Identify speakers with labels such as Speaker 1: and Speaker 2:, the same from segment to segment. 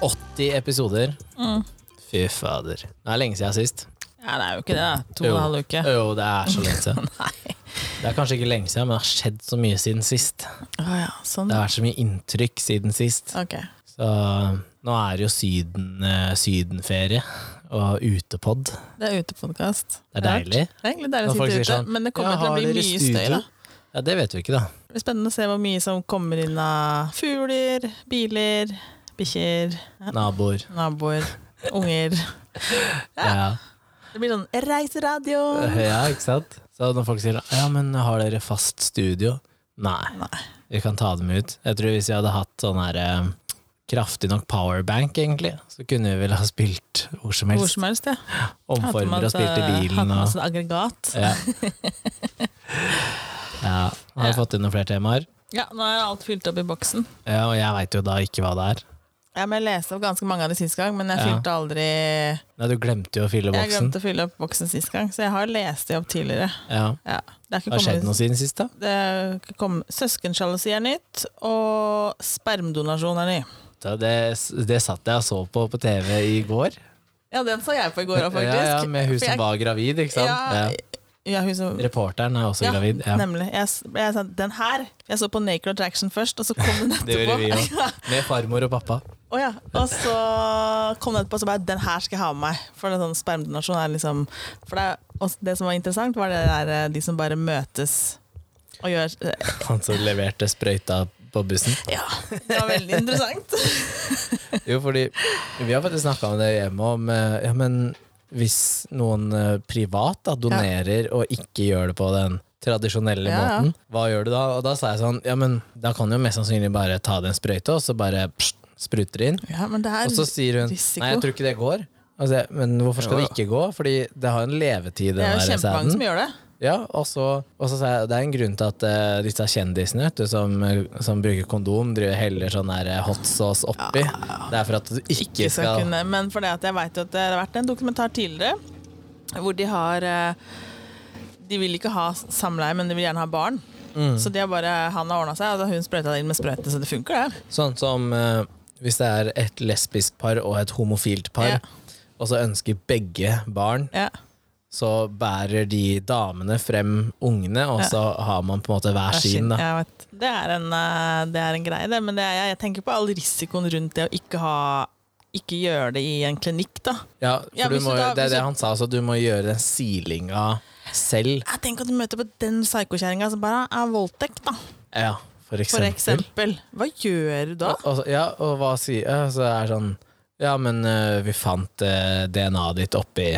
Speaker 1: 80 episoder.
Speaker 2: Mm.
Speaker 1: Fy fader. Det er lenge siden sist.
Speaker 2: Ja, det er jo ikke det. da. To
Speaker 1: Jo.
Speaker 2: og en halv uke.
Speaker 1: Jo, det er så lenge siden.
Speaker 2: Nei.
Speaker 1: Det er kanskje ikke lenge siden, men det har skjedd så mye siden sist.
Speaker 2: Å ja, sånn.
Speaker 1: Det har vært så mye inntrykk siden sist.
Speaker 2: Ok.
Speaker 1: Så nå er det jo syden, eh, sydenferie og utepod.
Speaker 2: Det er utepodkast.
Speaker 1: Det er deilig.
Speaker 2: Det er egentlig
Speaker 1: Når
Speaker 2: deilig å
Speaker 1: folk
Speaker 2: sitte
Speaker 1: sier
Speaker 2: ute,
Speaker 1: sånn,
Speaker 2: men det kommer
Speaker 1: «Ja,
Speaker 2: til å
Speaker 1: har
Speaker 2: bli
Speaker 1: dere
Speaker 2: mye
Speaker 1: studio?»
Speaker 2: støy, da.
Speaker 1: Ja, det vet vi ikke, da.
Speaker 2: Det blir spennende å se hvor mye som kommer inn av fugler, biler, bikkjer,
Speaker 1: Naboer.
Speaker 2: naboer, unger.
Speaker 1: Ja.
Speaker 2: Det blir sånn reiseradio!
Speaker 1: ja, ikke sant? Så når folk sier ja, men har dere fast studio? Nei.
Speaker 2: Nei.
Speaker 1: Vi kan ta dem ut. Jeg tror hvis vi hadde hatt sånn her eh, kraftig nok powerbank, egentlig, så kunne vi vel ha spilt hvor som
Speaker 2: Hvor
Speaker 1: helst.
Speaker 2: som helst, ja. Hadde man
Speaker 1: Omformer og spilt i
Speaker 2: hatt, eh,
Speaker 1: bilen
Speaker 2: Hatt med
Speaker 1: og
Speaker 2: oss et aggregat.
Speaker 1: Ja. ja. Har vi fått inn noen flere temaer?
Speaker 2: Ja, nå er alt fylt opp i boksen.
Speaker 1: Ja, og jeg veit jo da ikke hva det er.
Speaker 2: Ja, men jeg leste opp ganske mange av de sist gang, men jeg
Speaker 1: Ja.
Speaker 2: fylte aldri
Speaker 1: Nei, du glemte jo å fylle
Speaker 2: Jeg
Speaker 1: boksen.
Speaker 2: glemte å fylle opp boksen sist gang, så jeg har lest de opp tidligere.
Speaker 1: Ja.
Speaker 2: Ja. Det er ikke
Speaker 1: Har skjedd noe
Speaker 2: kommet,
Speaker 1: siden sist, da?
Speaker 2: det er ikke kommet. Søskensjalusi er nytt, og spermdonasjon er ny.
Speaker 1: Så Det, det satt jeg og så på på TV i går.
Speaker 2: Ja, den så jeg på i går òg, faktisk.
Speaker 1: Ja, ja, med hun
Speaker 2: For jeg-
Speaker 1: som var gravid, ikke sant?
Speaker 2: Ja, ja, hun som
Speaker 1: Reporteren er også
Speaker 2: Ja,
Speaker 1: gravid. Ja.
Speaker 2: Nemlig. Jeg, s- jeg sa den her. Jeg så på Naked Attraction først, og så kom den etterpå.
Speaker 1: Det gjorde vi òg. Med farmor og pappa.
Speaker 2: Å ja. Og så kom den etterpå, så bare den her skal jeg ha med meg. For det er sånn spermdonasjon er liksom For det, er- og det som var interessant, var det der eh, de som bare møtes og gjør eh,
Speaker 1: Han som leverte sprøyta på bussen.
Speaker 2: Ja. Det var veldig interessant.
Speaker 1: Jo, fordi Vi har faktisk snakka om det hjemme om eh, ja, men hvis noen eh, privat da, donerer og ikke gjør det på den tradisjonelle
Speaker 2: Ja, ja.
Speaker 1: måten, hva gjør du da? Og da sa jeg sånn, ja, men da kan du jo mest sannsynlig bare ta det en sprøyte, og så bare pst, spruter det inn.
Speaker 2: Ja, men det
Speaker 1: Og så
Speaker 2: er
Speaker 1: sier hun
Speaker 2: risiko.
Speaker 1: nei, jeg tror ikke det går. Og så sier jeg, men hvorfor skal
Speaker 2: Jo
Speaker 1: det ikke gå? Fordi det har en levetid. den
Speaker 2: det er jo
Speaker 1: der sæden.
Speaker 2: kjempemange som gjør det.
Speaker 1: Ja, og så, og så sa jeg det er en grunn til at eh, disse kjendisene vet du, som, eh, som bruker kondom, driver heller sånn der eh, hot sauce oppi. Det er for at du ikke,
Speaker 2: ikke
Speaker 1: skal,
Speaker 2: skal kunne. Men fordi at jeg vet jo at det har vært en dokumentar tidligere hvor de har eh, De vil ikke ha samleie, men de vil gjerne ha barn.
Speaker 1: Mm.
Speaker 2: Så de har bare, han har ordna seg, og så har hun sprøyta det inn med sprøyte, så det funker, det.
Speaker 1: Sånn som eh, hvis det er et lesbisk par og et homofilt par,
Speaker 2: Ja.
Speaker 1: og så ønsker begge barn,
Speaker 2: Ja.
Speaker 1: så bærer de damene frem ungene, og så har man på en måte hver sin. da.
Speaker 2: Jeg vet. Det, er en, eh, det er en greie, det. Men det er, jeg tenker på all risikoen rundt det å ikke ha ikke gjøre det i en klinikk, da.
Speaker 1: Ja, for
Speaker 2: Ja,
Speaker 1: du
Speaker 2: hvis
Speaker 1: må,
Speaker 2: du da-
Speaker 1: det er
Speaker 2: hvis
Speaker 1: det
Speaker 2: du-
Speaker 1: han sa, så du må gjøre den silinga selv.
Speaker 2: Jeg tenker at du møter på den psykokjerringa som bare er voldtekt, da.
Speaker 1: Ja, for
Speaker 2: For
Speaker 1: eksempel.
Speaker 2: eksempel. Hva gjør du da?
Speaker 1: Og, og, så- altså, ja, og hva sier jeg? Så er det sånn Ja, men øh, vi fant øh, DNA-et ditt oppi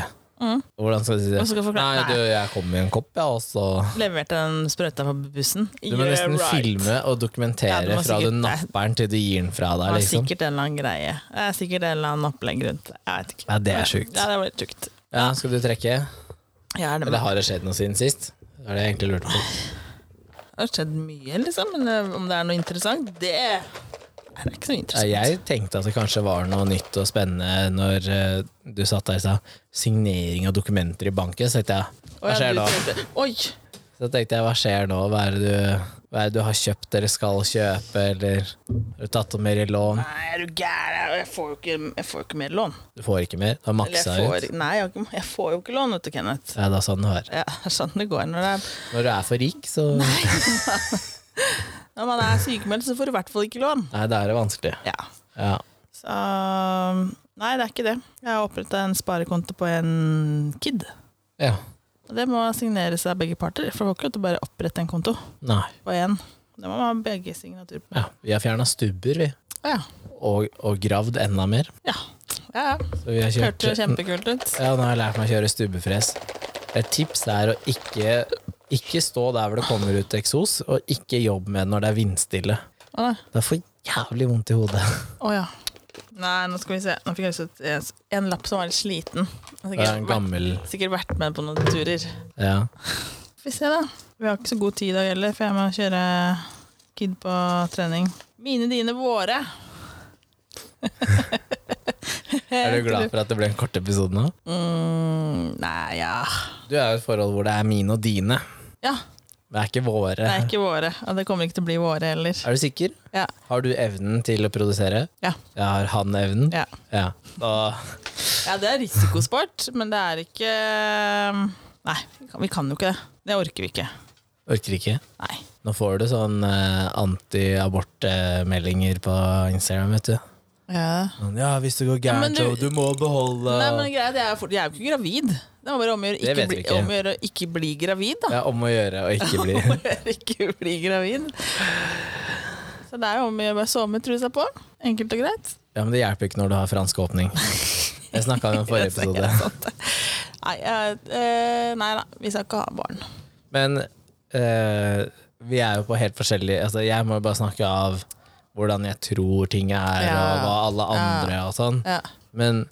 Speaker 1: Hvordan skal du si det?
Speaker 2: Hva Mm. skal jeg forklare?
Speaker 1: Nei, du, jeg kom i en kopp, ja, og så
Speaker 2: Leverte den sprøyta på bussen?
Speaker 1: Du må nesten filme og
Speaker 2: Ja, du
Speaker 1: dokumentere
Speaker 2: må
Speaker 1: fra du
Speaker 2: sikkert-
Speaker 1: napper den til du gir den fra
Speaker 2: Det
Speaker 1: deg,
Speaker 2: var
Speaker 1: liksom.
Speaker 2: sikkert en eller annen greie. Det er sikkert en eller annen opplegg rundt det. Jeg vet ikke.
Speaker 1: Ja, det er sjukt.
Speaker 2: Ja, det var litt sjukt.
Speaker 1: Ja, skal du trekke?
Speaker 2: Ja, det,
Speaker 1: Eller har det skjedd noe siden sist? Det er det jeg egentlig lurte på.
Speaker 2: det har skjedd mye, liksom. Men eh, om det er noe interessant, det er ikke så
Speaker 1: Ja,
Speaker 2: interessant.
Speaker 1: Jeg tenkte at det kanskje var noe nytt og spennende når øh, du satt der og sa 'signering av dokumenter i banken'. Så tenkte jeg,
Speaker 2: Å,
Speaker 1: hva
Speaker 2: ja,
Speaker 1: skjer
Speaker 2: du
Speaker 1: da?
Speaker 2: tenkte- Oi!
Speaker 1: Så tenkte jeg, hva skjer nå? Hva er det du, hva er det du har kjøpt eller skal kjøpe? Eller har du tatt opp mer i lån?
Speaker 2: Nei, er du gæren? Jeg får jo ikke, jeg får jo ikke mer lån.
Speaker 1: Du får ikke mer? Du har
Speaker 2: Eller
Speaker 1: maksa
Speaker 2: jeg får,
Speaker 1: ut?
Speaker 2: nei, jeg, har ikke- jeg får jo ikke lån, vet du, Kenneth.
Speaker 1: Ja, det er sånn det er.
Speaker 2: Ja, det er sånn det går når det er
Speaker 1: Når du er for rik, så Nei,
Speaker 2: Når man er sykemeldt, så får du i hvert fall ikke lån.
Speaker 1: da er det vanskelig.
Speaker 2: Ja.
Speaker 1: Ja.
Speaker 2: Så um, Nei, det er ikke det. Jeg har oppretta en sparekonto på en kid.
Speaker 1: ja.
Speaker 2: Og det må signeres av begge parter. For du får ikke lov til å bare opprette en konto
Speaker 1: Nei.
Speaker 2: på én. Det må man ha begge signaturer på.
Speaker 1: Ja. Vi har fjerna stubber, vi.
Speaker 2: Ja.
Speaker 1: Og, og gravd enda mer.
Speaker 2: ja. ja, ja.
Speaker 1: Så vi har kjørt
Speaker 2: Hørte jo kjempekult ut.
Speaker 1: Ja, nå har jeg lært meg å kjøre stubbefres. Et tips er å ikke, ikke stå der hvor det kommer ut eksos, og ikke jobb med det når det er vindstille.
Speaker 2: Å nei.
Speaker 1: Det får jævlig vondt i hodet.
Speaker 2: Å ja. Nei, nå skal vi se. Nå fikk jeg lyst til en, en lapp som var litt sliten. Jeg har
Speaker 1: Det er en
Speaker 2: Sikkert,
Speaker 1: gammel
Speaker 2: vært- sikkert vært med på noen turer.
Speaker 1: Ja.
Speaker 2: Får vi se, da. Vi har ikke så god tid i dag heller, for jeg må kjøre kid på trening. Mine, dine, våre.
Speaker 1: Er du glad for at det ble en kort episode nå?
Speaker 2: Mm, nei, ja.
Speaker 1: Du er jo i et forhold hvor det er mine og dine.
Speaker 2: ja.
Speaker 1: Det er ikke våre.
Speaker 2: Det er ikke våre, og det kommer ikke til å bli våre heller.
Speaker 1: Er du sikker?
Speaker 2: Ja.
Speaker 1: Har du evnen til å produsere?
Speaker 2: Ja.
Speaker 1: Jeg har han evnen?
Speaker 2: Ja.
Speaker 1: Ja. Da,
Speaker 2: ja, det er risikosport, men det er ikke um, Nei, vi kan- vi kan jo ikke det. Det orker vi ikke.
Speaker 1: orker ikke.
Speaker 2: Nei.
Speaker 1: Nå får du sånn eh, anti-abort-meldinger på Instagram, vet du.
Speaker 2: Ja.
Speaker 1: Sånn, ja, hvis det går
Speaker 2: men
Speaker 1: gærent,
Speaker 2: du-
Speaker 1: du, du må beholde
Speaker 2: Nei, men greit, jeg er, fort, jeg er jo ikke gravid. Det var bare om å gjøre
Speaker 1: Det
Speaker 2: ikke,
Speaker 1: vet vi
Speaker 2: bli-
Speaker 1: ikke.
Speaker 2: om å gjøre å ikke bli gravid, da.
Speaker 1: Det er om å gjøre å ikke bli
Speaker 2: Om å gjøre å ikke bli gravid. Så det er jo om å gjøre å bare sove med trusa på. Enkelt og greit.
Speaker 1: Ja, men det hjelper ikke når du har fransk åpning. Jeg snakka om det i forrige
Speaker 2: Det er
Speaker 1: episode.
Speaker 2: sant. Nei, jeg, eh, nei da, vi skal ikke ha barn.
Speaker 1: Men eh, vi er jo på helt forskjellige altså, Jeg må jo bare snakke av hvordan jeg tror ting er,
Speaker 2: Ja.
Speaker 1: og hva alle andre og sånn.
Speaker 2: Ja,
Speaker 1: Men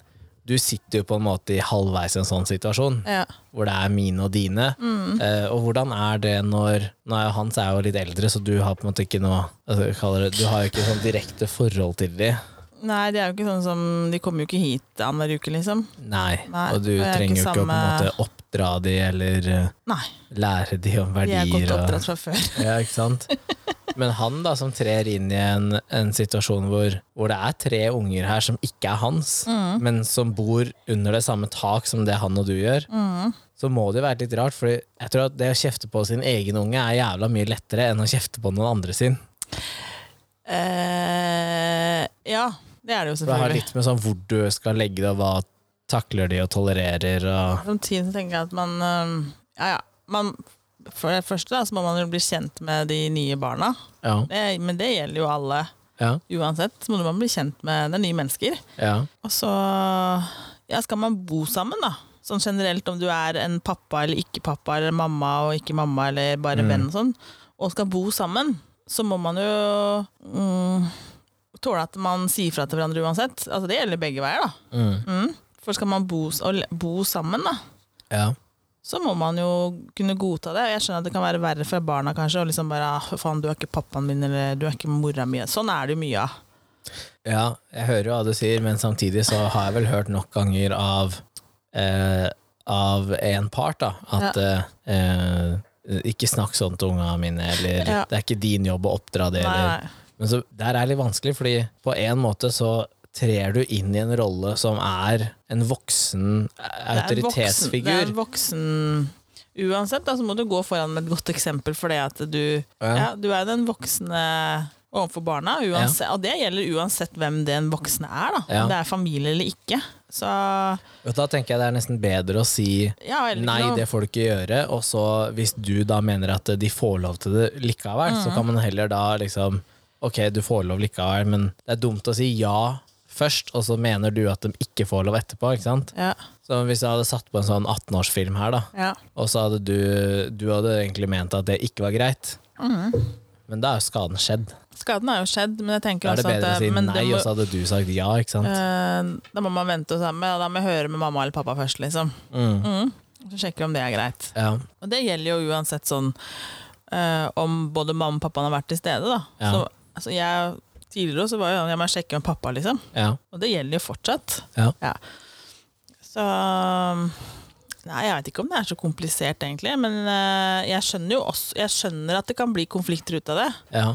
Speaker 1: du sitter jo på en måte i halvveis i en sånn situasjon,
Speaker 2: ja.
Speaker 1: hvor det er mine og dine.
Speaker 2: Mm.
Speaker 1: Eh, og hvordan er det når Nå er jo Hans er jo litt eldre, så du har på en måte ikke noe altså, jeg kaller det, Du har jo ikke sånn direkte forhold til de.
Speaker 2: Nei, de er jo ikke sånn som De kommer jo ikke hit annenhver uke, liksom.
Speaker 1: Nei.
Speaker 2: Nei,
Speaker 1: og du
Speaker 2: og jeg er ikke
Speaker 1: trenger jo ikke å på en
Speaker 2: samme-
Speaker 1: måte oppdra de eller eh,
Speaker 2: Nei,
Speaker 1: lære de om
Speaker 2: de er godt
Speaker 1: verdier. og-
Speaker 2: oppdratt fra før.
Speaker 1: Ja, ikke sant? Men han da, som trer inn i en, en situasjon hvor, hvor det er tre unger her som ikke er hans, men som bor under det samme tak som det han og du gjør,
Speaker 2: Mm.
Speaker 1: så må det jo være litt rart, for jeg tror at det å kjefte på sin egen unge er jævla mye lettere enn å kjefte på noen andre sin.
Speaker 2: Eh, ja, det er det jo
Speaker 1: For det har
Speaker 2: selvfølgelig.
Speaker 1: litt med sånn hvor du skal legge det, og hva takler de og tolererer, og
Speaker 2: Samtidig så tenker jeg at man eh, Ja, ja. Man, for det første da, så må man jo bli kjent med de nye barna.
Speaker 1: ja,
Speaker 2: Det, men det gjelder jo alle.
Speaker 1: ja,
Speaker 2: Uansett så må man bli kjent med det er nye mennesker.
Speaker 1: ja.
Speaker 2: Og så ja, skal man bo sammen, da. Sånn generelt om du er en pappa eller ikke pappa, eller mamma og ikke mamma, eller bare
Speaker 1: Mm.
Speaker 2: venn og sånn, og skal bo sammen, så må man jo mm, tåle at man sier fra til hverandre uansett. Altså det gjelder begge veier, da.
Speaker 1: Mm,
Speaker 2: Mm. For skal man bo, s- og le- bo sammen, da,
Speaker 1: ja.
Speaker 2: så må man jo kunne godta det. Jeg skjønner at det kan være verre for barna, kanskje, og liksom bare ah, faen, du er ikke pappaen min, eller du er ikke mora mi. Sånn er det jo mye av.
Speaker 1: Ja, jeg hører jo hva du sier, men samtidig så har jeg vel hørt nok ganger av eh, Av en part, da, at eh, eh, ikke snakk sånn til unga mine, eller
Speaker 2: Ja.
Speaker 1: det er ikke din jobb å oppdra det.
Speaker 2: Nei,
Speaker 1: Eller.
Speaker 2: nei.
Speaker 1: Men så, der er det litt vanskelig, fordi på en måte så trer du inn i en rolle som er en voksen eh,
Speaker 2: Det er en voksen- Det er
Speaker 1: autoritetsfigur.
Speaker 2: en voksen Uansett, da, så må du gå foran med et godt eksempel for det at du
Speaker 1: Ja.
Speaker 2: ja. Du er den voksne overfor barna, uansett, og det gjelder uansett hvem den voksne er. da
Speaker 1: Ja.
Speaker 2: Om det er familie eller ikke. Så
Speaker 1: Og da tenker jeg det er nesten bedre å si
Speaker 2: ja, eller ikke
Speaker 1: Nei,
Speaker 2: noe.
Speaker 1: det får du ikke gjøre. Og så hvis du da mener at de får lov til det likevel,
Speaker 2: Mm.
Speaker 1: så kan man heller da liksom Ok, du får lov likevel, men det er dumt å si ja først, og så mener du at de ikke får lov etterpå, ikke sant?
Speaker 2: Ja,
Speaker 1: Så hvis jeg hadde satt på en sånn 18-årsfilm her, da,
Speaker 2: ja.
Speaker 1: og så hadde du Du hadde egentlig ment at det ikke var greit,
Speaker 2: Mm.
Speaker 1: men da er jo skaden skjedd.
Speaker 2: Skaden har jo skjedd, men jeg tenker
Speaker 1: Da er det
Speaker 2: også at eh,
Speaker 1: bedre å si
Speaker 2: men det
Speaker 1: nei,
Speaker 2: må-
Speaker 1: og så hadde du sagt ja, ikke sant?
Speaker 2: eh, Da må man vente og sammen, og da må jeg høre med mamma eller pappa først, liksom.
Speaker 1: Mm.
Speaker 2: Mm. Så sjekker vi om det er greit.
Speaker 1: Ja.
Speaker 2: Og det gjelder jo uansett sånn eh, om både mamma og pappaen har vært til stede. Da.
Speaker 1: Ja.
Speaker 2: Så, altså, jeg, tidligere også var jo jeg må sjekke med pappa, liksom.
Speaker 1: ja.
Speaker 2: Og det gjelder jo fortsatt.
Speaker 1: Ja.
Speaker 2: Så Nei, jeg vet ikke om det er så komplisert, egentlig. Men eh, jeg skjønner jo også Jeg skjønner at det kan bli konflikter ut av det.
Speaker 1: Ja.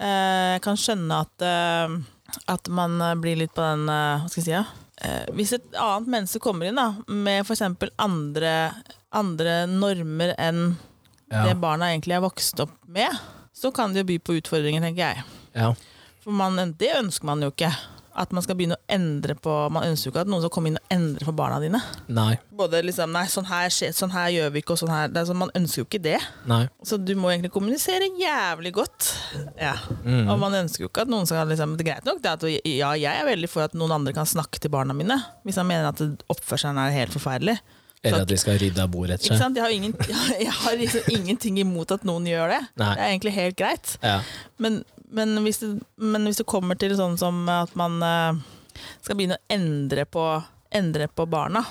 Speaker 2: Eh, Jeg kan skjønne at, eh, at man eh, blir litt på den eh, Hva skal jeg si? Ja? Eh, Hvis et annet menneske kommer inn da, med f.eks. Andre, andre normer enn
Speaker 1: Ja.
Speaker 2: det barna egentlig er vokst opp med, så kan det jo by på utfordringer, tenker jeg.
Speaker 1: ja.
Speaker 2: For man, det ønsker man jo ikke. At man skal begynne å endre på Man ønsker jo ikke at noen skal komme inn og endre på barna dine.
Speaker 1: Nei.
Speaker 2: Både liksom, nei, sånn her, skjer, sånn her gjør vi ikke, og sånn her det er sånn, Man ønsker jo ikke det.
Speaker 1: Nei.
Speaker 2: Så du må egentlig kommunisere jævlig godt. Ja.
Speaker 1: Mm.
Speaker 2: Og man ønsker jo ikke at noen skal liksom, Det er greit nok det at ja, jeg er veldig for at noen andre kan snakke til barna mine, hvis han mener at oppførselen er helt forferdelig.
Speaker 1: Eller at de skal rydde av bordet, rett og
Speaker 2: Ikke
Speaker 1: slett.
Speaker 2: sant? Jeg har, ingen, jeg har liksom ingenting imot at noen gjør det.
Speaker 1: Nei.
Speaker 2: Det er egentlig helt greit.
Speaker 1: Ja.
Speaker 2: Men, men, hvis, det, men hvis det kommer til sånn som at man eh, skal begynne å endre på, endre på barna,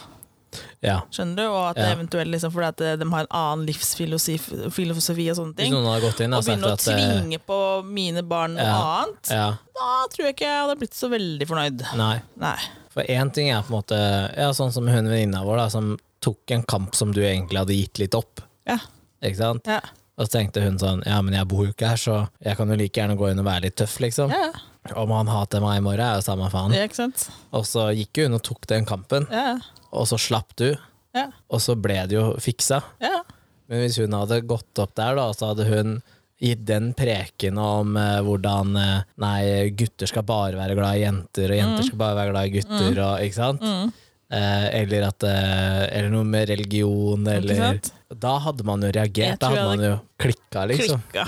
Speaker 1: ja.
Speaker 2: skjønner du? Og at
Speaker 1: Ja.
Speaker 2: eventuelt liksom, fordi at eh, de har en annen livsfilosofi filosofi og sånne
Speaker 1: Hvis
Speaker 2: ting.
Speaker 1: noen hadde gått inn og
Speaker 2: Og
Speaker 1: sagt
Speaker 2: begynne å
Speaker 1: at eh,
Speaker 2: tvinge på mine barn noe
Speaker 1: Ja.
Speaker 2: annet,
Speaker 1: ja,
Speaker 2: da tror jeg ikke jeg hadde blitt så veldig fornøyd.
Speaker 1: Nei.
Speaker 2: Nei.
Speaker 1: For én ting er på en måte ja, sånn som hun venninna vår, da, som tok en kamp som du egentlig hadde gitt litt opp.
Speaker 2: Ja.
Speaker 1: Ikke sant?
Speaker 2: Ja.
Speaker 1: Og så tenkte hun sånn Ja, men jeg bor jo ikke her, så jeg kan jo like gjerne gå inn og være litt tøff, liksom.
Speaker 2: Ja,
Speaker 1: Om han hater meg i morgen, er jo samme faen.
Speaker 2: ja, ikke sant?
Speaker 1: Og så gikk hun og tok den kampen,
Speaker 2: Ja,
Speaker 1: og så slapp du,
Speaker 2: ja,
Speaker 1: og så ble det jo fiksa.
Speaker 2: ja.
Speaker 1: Men hvis hun hadde gått opp der, da, så hadde hun gitt den preken om eh, hvordan eh, Nei, gutter skal bare være glad i jenter, og
Speaker 2: Mm.
Speaker 1: jenter skal bare være glad i gutter, og, ikke sant? Eh, eller, at, eh, eller noe med religion, eller
Speaker 2: sant?
Speaker 1: Da hadde man jo reagert,
Speaker 2: Jeg
Speaker 1: da
Speaker 2: tror
Speaker 1: hadde
Speaker 2: jeg
Speaker 1: man jo klikka, liksom.
Speaker 2: Klikka.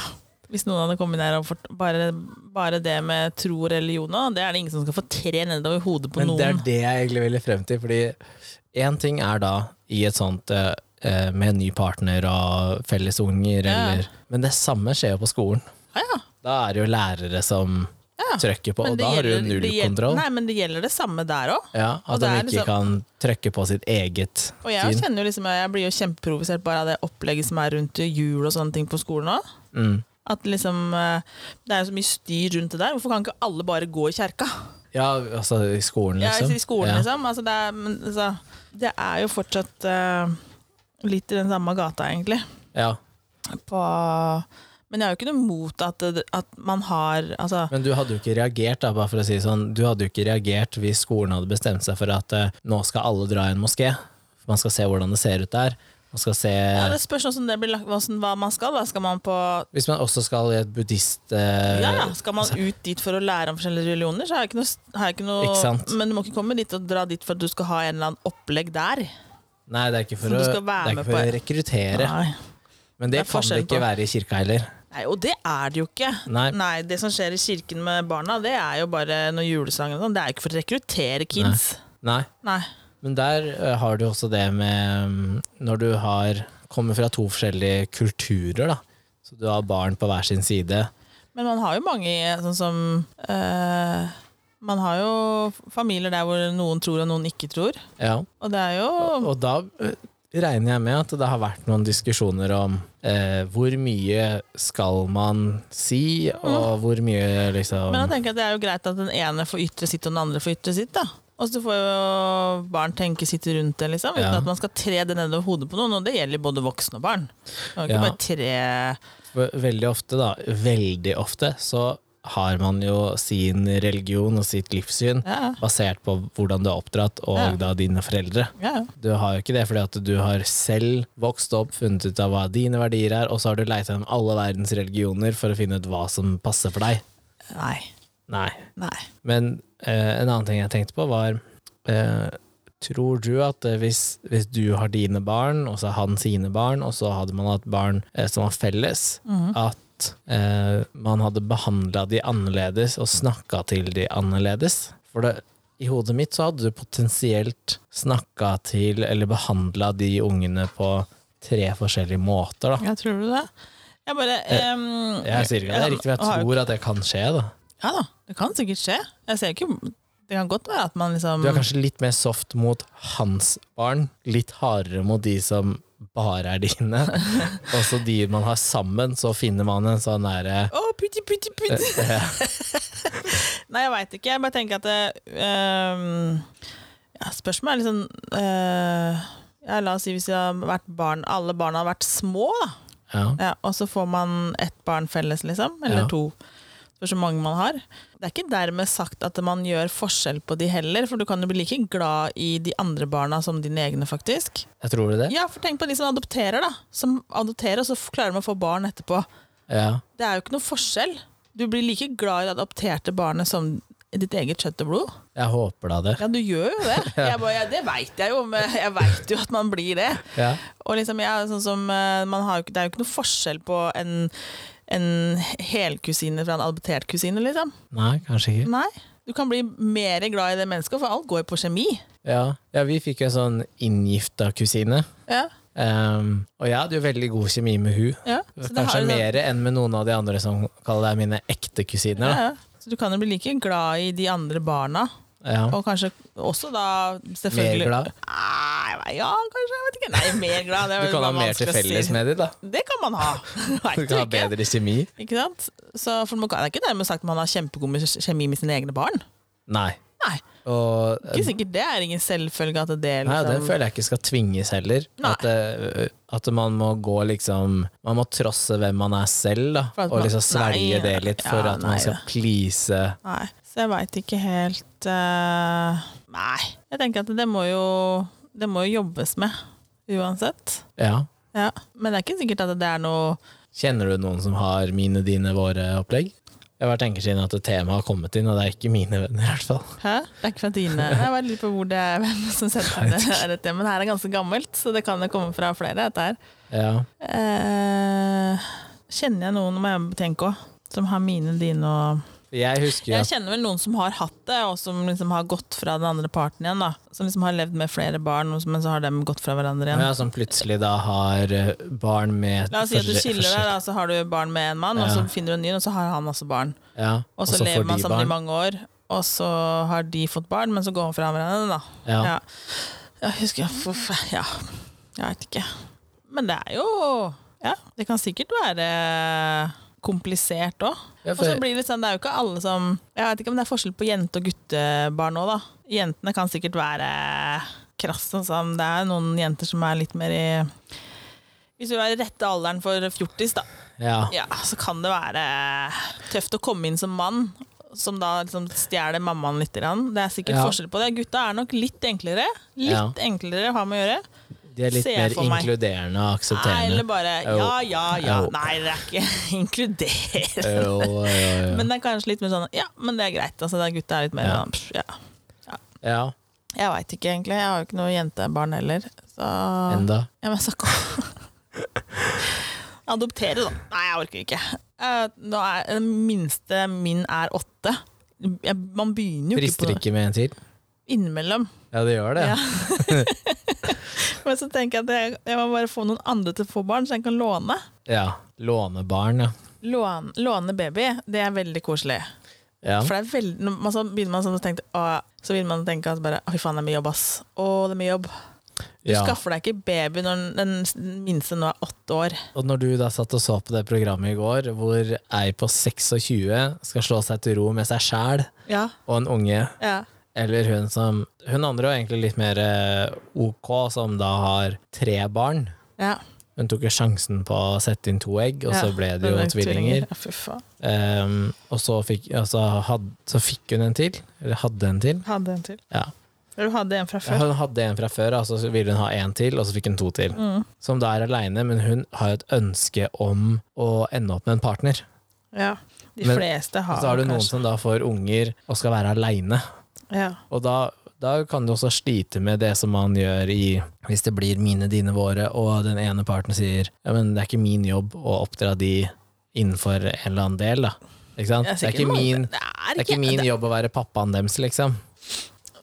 Speaker 2: Hvis noen hadde kommet der og fort, bare, bare det med tro og religion, da, det er det ingen som skal få tre nedover hodet på
Speaker 1: Men det er
Speaker 2: noen.
Speaker 1: det jeg egentlig ville frem til, fordi én ting er da i et sånt eh, eh, med en ny partner og felles unger,
Speaker 2: Ja.
Speaker 1: eller Men det samme skjer jo på skolen.
Speaker 2: Ja, ja.
Speaker 1: Da er det jo lærere som
Speaker 2: Ja,
Speaker 1: trykker på,
Speaker 2: Men
Speaker 1: og
Speaker 2: det
Speaker 1: da har du jo
Speaker 2: gjelder-
Speaker 1: null
Speaker 2: det gjelder-
Speaker 1: kontroll.
Speaker 2: Nei, men det gjelder det samme der òg.
Speaker 1: Ja,
Speaker 2: Og
Speaker 1: at
Speaker 2: det
Speaker 1: de
Speaker 2: er
Speaker 1: ikke
Speaker 2: liksom-
Speaker 1: kan trykke på sitt eget
Speaker 2: Og jeg
Speaker 1: syn.
Speaker 2: kjenner jo liksom, jeg blir jo kjempeprovosert bare av det opplegget som er rundt jul og sånne ting på skolen òg.
Speaker 1: Mm.
Speaker 2: At liksom, eh, det er jo så mye styr rundt det der. Hvorfor kan ikke alle bare gå i kjerka?
Speaker 1: Ja, altså i skolen,
Speaker 2: Ja,
Speaker 1: liksom.
Speaker 2: I skolen,
Speaker 1: ja.
Speaker 2: liksom. Altså, det, er, men, altså, det er jo fortsatt eh, litt i den samme gata, egentlig.
Speaker 1: Ja.
Speaker 2: På, men jeg har jo ikke noe mot at, det- at man har altså,
Speaker 1: Men du hadde jo ikke reagert, da, bare for å si det sånn, du hadde jo ikke reagert hvis skolen hadde bestemt seg for at eh, nå skal alle dra i en moské. Man skal se hvordan det ser ut der. Man skal se
Speaker 2: ja, Det spørs hvordan det blir lagt, hvordan, hva man skal. Da. Skal man på
Speaker 1: Hvis man også skal i et buddhist... eh,
Speaker 2: ja, ja. Skal man ut dit for å lære om forskjellige religioner, så har jeg ikke noe, har jeg ikke noe
Speaker 1: Ikke sant?
Speaker 2: Men du må ikke komme dit og dra dit for at du skal ha en eller annen opplegg der.
Speaker 1: Nei, det er ikke for, å,
Speaker 2: Som du
Speaker 1: det
Speaker 2: skal være
Speaker 1: er
Speaker 2: med
Speaker 1: ikke for å
Speaker 2: på.
Speaker 1: rekruttere.
Speaker 2: Nei.
Speaker 1: Men det,
Speaker 2: Det
Speaker 1: kan
Speaker 2: er
Speaker 1: det
Speaker 2: forskjellen
Speaker 1: ikke
Speaker 2: på-
Speaker 1: være i kirka heller.
Speaker 2: Nei, og det er det jo ikke.
Speaker 1: Nei.
Speaker 2: Nei, Det som skjer i kirken med barna, det er jo bare noen julesanger. og sånn. Det er jo ikke for å rekruttere kids.
Speaker 1: Nei.
Speaker 2: Nei.
Speaker 1: Men der eh, har du også det med mm, Når du har kommer fra to forskjellige kulturer, da. Så du har barn på hver sin side.
Speaker 2: Men man har jo mange sånn som eh, Man har jo familier der hvor noen tror og noen ikke tror.
Speaker 1: Ja.
Speaker 2: Og det er jo
Speaker 1: Og da eh, regner jeg med at det har vært noen diskusjoner om eh, hvor mye skal man si, og hvor mye liksom
Speaker 2: Mm. Men jeg tenker at det er jo greit at den ene får ytre sitt, og den andre får ytre sitt. da og så får jo barn tenke sitt rundt det, liksom, uten
Speaker 1: Ja.
Speaker 2: at man skal tre det nedover hodet på noen. Og det gjelder både voksne og barn. Man kan ikke
Speaker 1: Ja.
Speaker 2: bare tre
Speaker 1: For Veldig ofte, da. Veldig ofte så har man jo sin religion og sitt livssyn
Speaker 2: Ja,
Speaker 1: basert på hvordan du er oppdratt, og
Speaker 2: Ja.
Speaker 1: da dine foreldre.
Speaker 2: ja.
Speaker 1: Du har jo ikke det fordi at du har selv vokst opp, funnet ut av hva dine verdier er, og så har du leita gjennom alle verdens religioner for å finne ut hva som passer for deg.
Speaker 2: Nei.
Speaker 1: Nei.
Speaker 2: Nei.
Speaker 1: Men eh, en annen ting jeg tenkte på, var eh, Tror du at eh, hvis, hvis du har dine barn, og så har han sine barn, og så hadde man hatt barn eh, som var felles, at eh, man hadde behandla de annerledes og snakka til de annerledes? For det, i hodet mitt så hadde du potensielt snakka til eller behandla de ungene på tre forskjellige måter, da.
Speaker 2: Ja, tror du det? Jeg bare ehm,
Speaker 1: Eh, Jeg sier ikke at det er riktig, men
Speaker 2: har
Speaker 1: jeg
Speaker 2: jo-
Speaker 1: tror at det kan skje, da.
Speaker 2: Ja da, det kan sikkert skje. Jeg ser ikke Det kan godt være at man liksom
Speaker 1: Du er kanskje litt mer soft mot hans barn, litt hardere mot de som bare er dine. Og så de man har sammen, så finner man en sånn derre
Speaker 2: Å, putti, putti, putti! Nei, jeg veit ikke. Jeg bare tenker at det, ehm, ja, Spørsmålet er liksom eh, ja, La oss si hvis jeg har vært barn, alle barna har vært små, da.
Speaker 1: ja.
Speaker 2: Ja, og så får man ett barn felles, liksom. Eller
Speaker 1: Ja.
Speaker 2: to. Spørs hvor mange man har. Det er ikke dermed sagt at man gjør forskjell på de heller, for du kan jo bli like glad i de andre barna som dine egne, faktisk.
Speaker 1: Jeg tror det.
Speaker 2: Ja, for tenk på de som adopterer, da. Som adopterer, og så f- klarer de å få barn etterpå.
Speaker 1: Ja.
Speaker 2: Det er jo ikke noe forskjell. Du blir like glad i det adopterte barnet som ditt eget kjøtt og blod.
Speaker 1: Jeg håper da det.
Speaker 2: Ja, du gjør jo det. Jeg bare, ja, det veit jeg jo, men jeg veit jo at man blir det.
Speaker 1: Ja.
Speaker 2: Og liksom, jeg, er sånn som, eh, man har, jo ikke- det er jo ikke noe forskjell på en, en helkusine fra en adoptert kusine, liksom.
Speaker 1: Nei, kanskje ikke.
Speaker 2: Nei. Du kan bli mer glad i det mennesket, for alt går jo på kjemi.
Speaker 1: Ja, ja vi fikk en sånn inngifta kusine.
Speaker 2: Ja,
Speaker 1: Ehm, og jeg hadde jo veldig god kjemi med hun.
Speaker 2: ja. Så det har
Speaker 1: Kanskje
Speaker 2: jo sånn-
Speaker 1: mer enn med noen av de andre som kaller deg mine ekte kusiner. Da.
Speaker 2: Ja, ja. Så du kan jo bli like glad i de andre barna.
Speaker 1: Ja.
Speaker 2: Og kanskje også da
Speaker 1: Mer
Speaker 2: selvfølgelig
Speaker 1: glad.
Speaker 2: Nei, jeg vet- ja, kanskje. Jeg vet ikke. Nei, mer glad. Det er
Speaker 1: Du
Speaker 2: vel
Speaker 1: kan
Speaker 2: hva
Speaker 1: ha
Speaker 2: man
Speaker 1: mer til
Speaker 2: skal
Speaker 1: felles
Speaker 2: si.
Speaker 1: med de, da.
Speaker 2: Det kan man ha.
Speaker 1: Du
Speaker 2: Vet
Speaker 1: kan ha
Speaker 2: ikke.
Speaker 1: bedre kjemi.
Speaker 2: Ikke sant? Så for man kan, det er ikke dermed sagt at man har kjempegod med kjemi med sine egne barn.
Speaker 1: Nei.
Speaker 2: Nei.
Speaker 1: Og
Speaker 2: Ikke sikkert det er ingen selvfølge at det
Speaker 1: Eh, Nei, og
Speaker 2: liksom
Speaker 1: den føler jeg ikke skal tvinges heller.
Speaker 2: Nei.
Speaker 1: At, eh, at man må gå liksom Man må trosse hvem man er selv, da.
Speaker 2: For at
Speaker 1: Og
Speaker 2: man-
Speaker 1: liksom svelge
Speaker 2: Nei.
Speaker 1: det litt for
Speaker 2: Ja,
Speaker 1: at
Speaker 2: nei,
Speaker 1: man skal
Speaker 2: det.
Speaker 1: please
Speaker 2: Nei, så jeg veit ikke helt eh, Nei. Jeg tenker at det må jo Det må jo jobbes med uansett.
Speaker 1: Ja.
Speaker 2: Ja. Men det er ikke sikkert at det er noe
Speaker 1: Kjenner du noen som har mine, dine, våre opplegg? Jeg bare tenker siden at temaet har kommet inn, og det er ikke mine venner i hvert fall.
Speaker 2: Hæ? Det er ikke fra dine Jeg bare lurer på hvor det er hvem som sendte det. Er dette. Men det her er ganske gammelt, så det kan jo komme fra flere, dette her.
Speaker 1: Ja.
Speaker 2: Eh, kjenner jeg noen, må jeg tenke òg, som har mine, dine og
Speaker 1: Jeg husker jo
Speaker 2: Jeg
Speaker 1: at
Speaker 2: kjenner vel noen som har hatt det, og som liksom har gått fra den andre parten igjen. da Som liksom har levd med flere barn, og som- men så har dem gått fra hverandre igjen.
Speaker 1: ja, som sånn plutselig da har eh, barn med
Speaker 2: La oss si at du
Speaker 1: forskjell-
Speaker 2: skiller deg,
Speaker 1: forskjell-
Speaker 2: da, så har du barn med en mann, og
Speaker 1: Ja.
Speaker 2: så finner du en ny, og så har han også barn.
Speaker 1: Ja.
Speaker 2: Og så
Speaker 1: får
Speaker 2: lever man
Speaker 1: de
Speaker 2: sammen i
Speaker 1: barn.
Speaker 2: mange år, og så har de fått barn, men så går han fra hverandre, da.
Speaker 1: Ja.
Speaker 2: Ja. Jeg husker hvorfor Ja, jeg veit ikke. Men det er jo Ja, det kan sikkert være komplisert òg.
Speaker 1: Ja,
Speaker 2: Og
Speaker 1: for-
Speaker 2: så blir det sånn, det er jo ikke alle som Jeg vet ikke om det er forskjell på jente- og guttebarn òg, da. Jentene kan sikkert være krass og sånn. Det er noen jenter som er litt mer i Hvis du er i rette alderen for fjortis, da,
Speaker 1: ja.
Speaker 2: ja, så kan det være tøft å komme inn som mann. Som da liksom stjeler mammaen litt. Grann. Det er sikkert
Speaker 1: Ja.
Speaker 2: forskjell på det. Gutta er nok litt enklere. Litt
Speaker 1: Ja.
Speaker 2: enklere å ha med å gjøre.
Speaker 1: De er litt
Speaker 2: ser
Speaker 1: mer
Speaker 2: for meg.
Speaker 1: inkluderende og
Speaker 2: Nei, eller
Speaker 1: aksepterende.
Speaker 2: bare
Speaker 1: Jo.
Speaker 2: ja, ja, ja.
Speaker 1: Jo.
Speaker 2: Nei, det er ikke inkludert.
Speaker 1: Jo, jo, jo.
Speaker 2: Men det er kanskje litt mer sånn ja, men det er greit. Altså, det er gutta er litt mer
Speaker 1: Ja.
Speaker 2: sånn pff, ja.
Speaker 1: Ja,
Speaker 2: Jeg veit ikke, egentlig. Jeg har jo ikke noe jentebarn heller. Så
Speaker 1: enda.
Speaker 2: Ja, men snakk om Adoptere, da. Nei, jeg orker ikke. Eh, nå er Den minste min er åtte. Jeg, man begynner jo
Speaker 1: Frister
Speaker 2: ikke på
Speaker 1: ikke med en til?
Speaker 2: innimellom.
Speaker 1: Ja, det gjør det.
Speaker 2: Ja. Men så tenker jeg at jeg, jeg må bare få noen andre til å få barn, så jeg kan låne.
Speaker 1: Ja. Lånebarn, ja.
Speaker 2: Låne, låne baby, det er veldig koselig.
Speaker 1: ja.
Speaker 2: For det er veldig, når man, så begynner man sånn å tenke å, Så begynner man å tenke at bare, «Å, fy faen, det er mye jobb, ass. Å, det er mye jobb. Du
Speaker 1: Ja.
Speaker 2: skaffer deg ikke baby når den den minste nå er åtte år.
Speaker 1: Og når du da satt og så på det programmet i går, hvor ei på 26 skal slå seg til ro med seg sjæl
Speaker 2: Ja,
Speaker 1: og en unge,
Speaker 2: ja.
Speaker 1: eller hun som Hun andre var egentlig litt mer eh, ok, som da har tre barn.
Speaker 2: ja.
Speaker 1: Hun tok jo sjansen på å sette inn to egg, og så
Speaker 2: Ja,
Speaker 1: ble det jo tvillinger.
Speaker 2: Ja, fy faen.
Speaker 1: Ehm, og så fikk, og så had, så fikk hun en til. Eller hadde en til.
Speaker 2: Hadde en til.
Speaker 1: Ja.
Speaker 2: Eller du hadde en fra
Speaker 1: Ja,
Speaker 2: før.
Speaker 1: Hun hadde en fra før, altså, så ville hun ha en til, og så fikk hun to til.
Speaker 2: Mm.
Speaker 1: Som da er aleine, men hun har jo et ønske om å ende opp med en partner.
Speaker 2: Ja. De
Speaker 1: Men-
Speaker 2: fleste
Speaker 1: Og
Speaker 2: har
Speaker 1: så har du noen
Speaker 2: Ah, kanskje
Speaker 1: som da får unger og skal være aleine.
Speaker 2: ja.
Speaker 1: Og da, da kan du også slite med det som man gjør i Hvis det blir mine, dine, våre, og den ene parten sier ja, men det er ikke min jobb å oppdra de innenfor en eller annen del, da. Ikke sant? Det
Speaker 2: Jeg
Speaker 1: er
Speaker 2: sikkert
Speaker 1: ikke
Speaker 2: mange-
Speaker 1: min,
Speaker 2: det er
Speaker 1: det er ikke min jobb å være pappaen deres, liksom.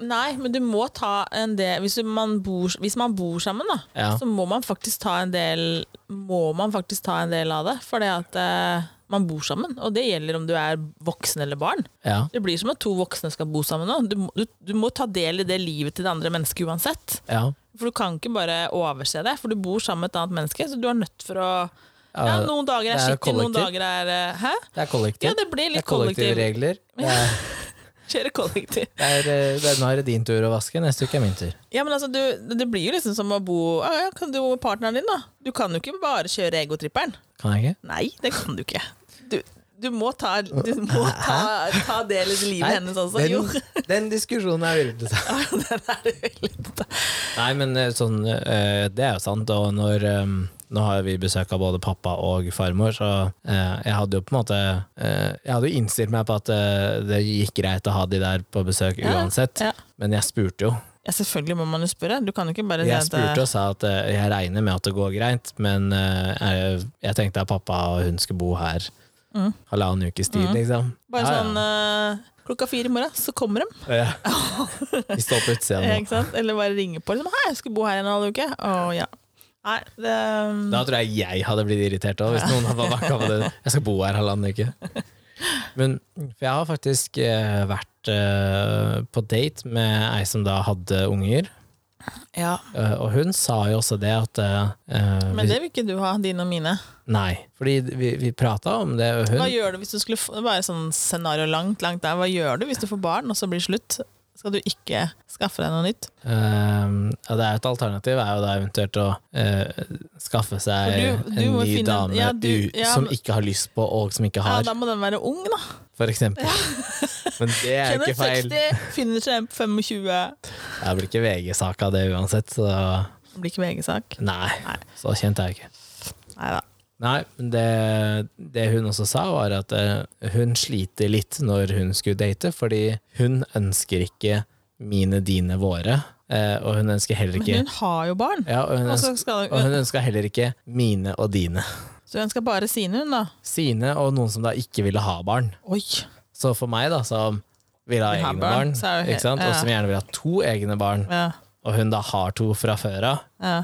Speaker 2: Nei, men du må ta en del Hvis du- man bor, hvis man bor sammen, da,
Speaker 1: Ja.
Speaker 2: så må man faktisk ta en del Må man faktisk ta en del av det. Fordi at eh, man bor sammen, og det gjelder om du er voksen eller barn.
Speaker 1: Ja.
Speaker 2: Det blir som at to voksne skal bo sammen nå. Du, må- du, du må ta del i det livet til det andre mennesket uansett.
Speaker 1: ja.
Speaker 2: For du kan ikke bare overse det, for du bor sammen med et annet menneske, så du er nødt for å
Speaker 1: Ja,
Speaker 2: Ja, noen dager er
Speaker 1: det er jo
Speaker 2: skittig, noen
Speaker 1: kollektiv.
Speaker 2: dager er eh, Hæ?
Speaker 1: Det er kollektivt.
Speaker 2: Ja, det blir
Speaker 1: det
Speaker 2: litt
Speaker 1: er kollektive
Speaker 2: kollektiv.
Speaker 1: regler. Det er,
Speaker 2: Kjøre kollektiv.
Speaker 1: Det er, eh, det er, nå er det din tur å vaske, neste uke er min tur.
Speaker 2: Ja, men altså, du, det blir jo liksom som å bo ja, ja, Kan du og partneren din, da? Du kan jo ikke bare kjøre egotripperen.
Speaker 1: Kan jeg ikke?
Speaker 2: Nei, det kan du ikke. Du, du må ta, du må ta, ta del i livet hennes også. Jo.
Speaker 1: den, den diskusjonen er uinteressant.
Speaker 2: Ja, den er det veldig
Speaker 1: Nei, men eh, sånn, eh, det er jo sant. Og når, eh, nå har vi besøk av både pappa og farmor, så eh, jeg hadde jo på en måte eh, Jeg hadde jo innstilt meg på at eh, det gikk greit å ha de der på besøk
Speaker 2: Ja,
Speaker 1: uansett,
Speaker 2: ja.
Speaker 1: men jeg spurte jo.
Speaker 2: Ja, selvfølgelig må man jo spørre. Du kan jo ikke bare
Speaker 1: Jeg
Speaker 2: si at
Speaker 1: spurte og sa at eh, jeg regner med at det går greit, men eh, jeg, jeg tenkte at pappa og hun skulle bo her halvannen ukes tid, liksom.
Speaker 2: Mm. Bare
Speaker 1: Ja, ja.
Speaker 2: sånn eh, Klokka fire i morgen, så kommer de.
Speaker 1: Ja. Vi står på utsida
Speaker 2: Ja,
Speaker 1: nå.
Speaker 2: ikke sant? Eller bare ringe på. Liksom, 'Hei, jeg skulle bo her en halv uke.' Å ja. Nei, det
Speaker 1: Da tror jeg jeg hadde blitt irritert òg, hvis noen hadde bare bakka på det. Jeg skal bo her halvannen uke. Men for jeg har faktisk eh, vært eh, på date med ei som da hadde unger,
Speaker 2: Ja.
Speaker 1: eh, og hun sa jo også det at eh,
Speaker 2: Men det vil ikke du ha, dine og mine.
Speaker 1: Nei, fordi vi, vi prata om det, og hun
Speaker 2: Hva gjør du hvis du skulle få, Det var et sånn scenario langt, langt der. Hva gjør du hvis du får barn, og så blir det slutt? skal du ikke skaffe deg noe nytt.
Speaker 1: Ehm, ja, det er jo et alternativ er jo da eventuelt å eh, skaffe seg
Speaker 2: For du- du
Speaker 1: en
Speaker 2: må
Speaker 1: ny
Speaker 2: finne-
Speaker 1: dame
Speaker 2: ja, du-
Speaker 1: u,
Speaker 2: ja,
Speaker 1: som
Speaker 2: men-
Speaker 1: ikke har lyst på, og som ikke
Speaker 2: Ja,
Speaker 1: har,
Speaker 2: da må den være ung, da.
Speaker 1: for eksempel. Men det er jo
Speaker 2: Kjenner
Speaker 1: ikke feil.
Speaker 2: 60, finner seg en på 25.
Speaker 1: Det blir ikke VG-sak av det uansett, så
Speaker 2: Det blir ikke VG-sak.
Speaker 1: nei.
Speaker 2: Nei.
Speaker 1: Så kjent er jeg ikke.
Speaker 2: Nei da.
Speaker 1: Nei, men det, det hun også sa, var at eh, hun sliter litt når hun skulle date, fordi hun ønsker ikke mine, dine, våre. eh, og hun ønsker heller
Speaker 2: Men
Speaker 1: ikke
Speaker 2: hun har jo barn.
Speaker 1: ja, og hun
Speaker 2: Og så
Speaker 1: ønsker,
Speaker 2: skal
Speaker 1: og hun ønska heller ikke mine og dine.
Speaker 2: Så hun skal bare sine, hun, da.
Speaker 1: Sine og noen som da ikke ville ha barn.
Speaker 2: Oi.
Speaker 1: Så for meg, da, som vil ha
Speaker 2: Vil ha
Speaker 1: egne barn,
Speaker 2: barn, så er det helt-
Speaker 1: ikke sant? og
Speaker 2: ja.
Speaker 1: som gjerne vil ha to egne barn,
Speaker 2: Ja.
Speaker 1: og hun da har to fra før av,
Speaker 2: Ja.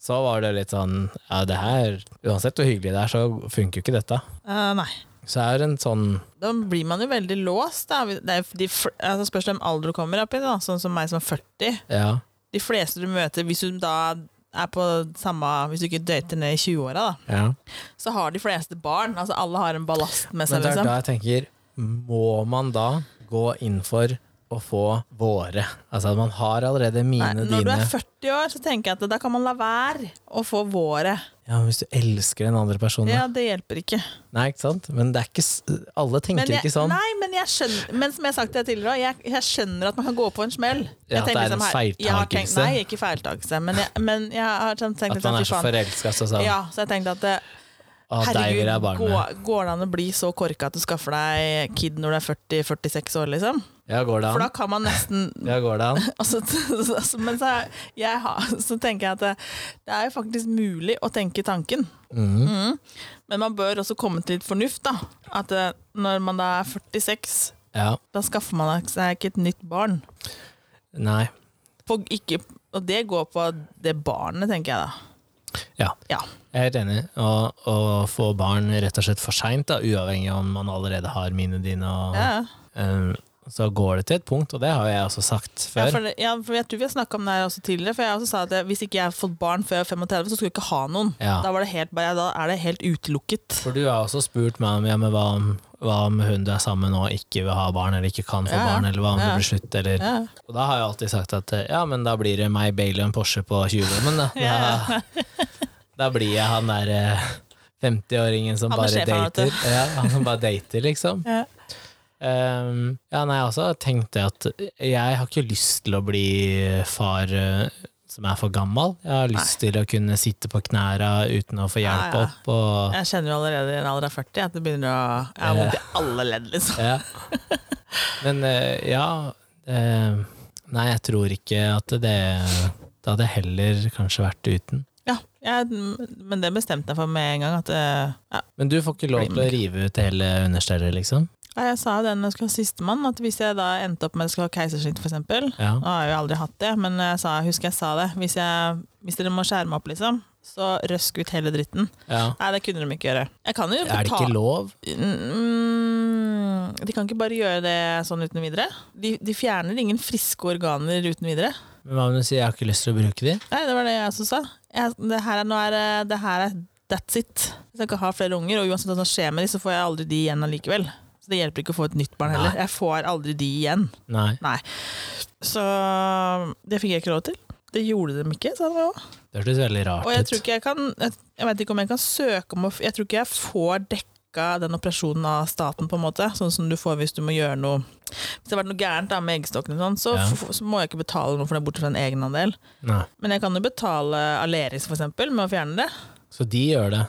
Speaker 1: så var det litt sånn Ja, det her Uansett hvor hyggelig det er, så funker jo ikke dette.
Speaker 2: Eh, nei.
Speaker 1: Så er det en sånn
Speaker 2: Da blir man jo veldig låst. Da. Det er jo de, fl- altså spørs hvem alder du kommer opp i, da. sånn som meg som er 40.
Speaker 1: Ja.
Speaker 2: De fleste du møter, hvis du da er på samme Hvis du ikke dater ned i 20-åra, da,
Speaker 1: ja.
Speaker 2: så har de fleste barn. Altså alle har en ballast med
Speaker 1: Men
Speaker 2: seg,
Speaker 1: det er
Speaker 2: liksom.
Speaker 1: da jeg tenker Må man da gå inn for å få våre? Altså at man har allerede mine,
Speaker 2: Nei, når du
Speaker 1: dine
Speaker 2: er 40 år, så tenker jeg at da kan man la være å få våre.
Speaker 1: Ja, men Hvis du elsker den andre personen
Speaker 2: Ja, det hjelper ikke.
Speaker 1: Nei, ikke sant? Men det er ikke s- Alle tenker
Speaker 2: Men jeg,
Speaker 1: ikke sånn.
Speaker 2: Nei, men jeg skjønner Men som jeg har sagt det tidligere, jeg, jeg skjønner at man kan gå på en smell.
Speaker 1: Ja,
Speaker 2: Jeg
Speaker 1: at det
Speaker 2: tenker
Speaker 1: er en
Speaker 2: liksom her- jeg har tenkt-
Speaker 1: feiltakelse.
Speaker 2: Nei, ikke feiltakelse, men jeg, men jeg har sånn tenkt
Speaker 1: At man
Speaker 2: sånn,
Speaker 1: er så
Speaker 2: fy faen.
Speaker 1: forelska, så sånn
Speaker 2: Ja, så jeg tenkte at eh, det,
Speaker 1: Å, deg vil jeg ha barn
Speaker 2: går,
Speaker 1: med.
Speaker 2: går det an å bli så korka at du skaffer deg kid når du er 40-46 år, liksom?
Speaker 1: Ja, går det
Speaker 2: For da
Speaker 1: an?
Speaker 2: kan man nesten
Speaker 1: Ja, går det an?
Speaker 2: altså, altså, Men så, er- jeg har, så tenker jeg at det, det er jo faktisk mulig å tenke tanken. Mm.
Speaker 1: Mhm.
Speaker 2: Men man bør også komme til litt fornuft, da. At eh, når man da er 46,
Speaker 1: Ja.
Speaker 2: da skaffer man seg ikke et nytt barn.
Speaker 1: Nei.
Speaker 2: På, ikke, og det går på det barnet, tenker jeg da.
Speaker 1: Ja.
Speaker 2: Ja.
Speaker 1: Jeg er helt enig. Å, å få barn rett og slett for seint, uavhengig om man allerede har mine dine, og,
Speaker 2: Ja,
Speaker 1: eh, så går det til et punkt, og det har jeg også sagt
Speaker 2: ja,
Speaker 1: før.
Speaker 2: for, det- ja, for jeg tror vi har snakka om det her også tidligere. For jeg også sa at jeg, hvis ikke jeg har fått barn før jeg er 35, så skulle jeg ikke ha noen.
Speaker 1: Ja.
Speaker 2: Da, var det helt, bare- da er det helt utelukket.
Speaker 1: For du har også spurt meg om ja, men hva om, hva om hun du er sammen med nå, ikke vil ha barn, eller ikke kan få
Speaker 2: Ja, ja.
Speaker 1: barn, eller hva om
Speaker 2: Ja.
Speaker 1: det blir slutt, eller
Speaker 2: Ja.
Speaker 1: Og da har jeg alltid sagt at eh, ja, men da blir det meg, Bailey og en Porsche på 20-lommen, da. Da, da blir jeg han der eh, 50-åringen som
Speaker 2: Han er
Speaker 1: bare
Speaker 2: sjefen, vet
Speaker 1: dater. Ja, han som bare dater, liksom.
Speaker 2: Ja.
Speaker 1: Ehm, ja, nei, jeg også tenkte at jeg har ikke lyst til å bli far eh, som er for gammel. Jeg har lyst til å kunne sitte på knæra uten å få hjelp
Speaker 2: Ja, ja.
Speaker 1: opp. Og,
Speaker 2: Jeg kjenner jo allerede i en alder av 40 at det begynner å Jeg har vondt i alle ledd, liksom.
Speaker 1: ja. Men eh, ja eh, Nei, jeg tror ikke at det Det hadde jeg heller kanskje vært uten.
Speaker 2: Ja, jeg, men det bestemte jeg for med en gang. At eh, ja,
Speaker 1: Men du får ikke lov til å rive ut hele understellet, liksom?
Speaker 2: Ja, Jeg sa jo det når jeg skulle ha sistemann, at hvis jeg da endte opp med at jeg skulle ha keisersnitt, for eksempel
Speaker 1: Ja.
Speaker 2: Nå har jeg jo aldri hatt det, men jeg sa, husker jeg sa det. Hvis, jeg, hvis dere må skjære meg opp, liksom, så røsk ut hele dritten.
Speaker 1: ja.
Speaker 2: Nei, det kunne de ikke gjøre. Jeg kan jo
Speaker 1: Er det ikke lov?
Speaker 2: Mm, de kan ikke bare gjøre det sånn uten videre. De, de fjerner ingen friske organer uten videre.
Speaker 1: Men hva om du sier 'jeg har ikke lyst til å bruke de'?
Speaker 2: Nei, det var det jeg også sa. Jeg, det her er, nå er eh, det- det her er that's it. Jeg skal ikke ha flere unger, og uansett hva som skjer med de, så får jeg aldri de igjen allikevel. Så det hjelper ikke å få et nytt barn heller. Jeg får aldri de igjen.
Speaker 1: Nei.
Speaker 2: Nei. Så det fikk jeg ikke lov til. Det gjorde de ikke, sa de òg.
Speaker 1: Det hørtes veldig rart
Speaker 2: Og jeg tror
Speaker 1: ut.
Speaker 2: ikke jeg kan Jeg, jeg vet ikke om jeg kan søke om å f- Jeg tror ikke jeg får dekka den operasjonen av staten, på en måte. Sånn som du får hvis du må gjøre noe Hvis det har vært noe gærent da, med eggstokkene, og sånn, så,
Speaker 1: Ja.
Speaker 2: f- så må jeg ikke betale noe for det, bortsett fra en egenandel.
Speaker 1: Nei.
Speaker 2: Men jeg kan jo betale Aleris, for eksempel, med å fjerne det.
Speaker 1: Så de gjør det.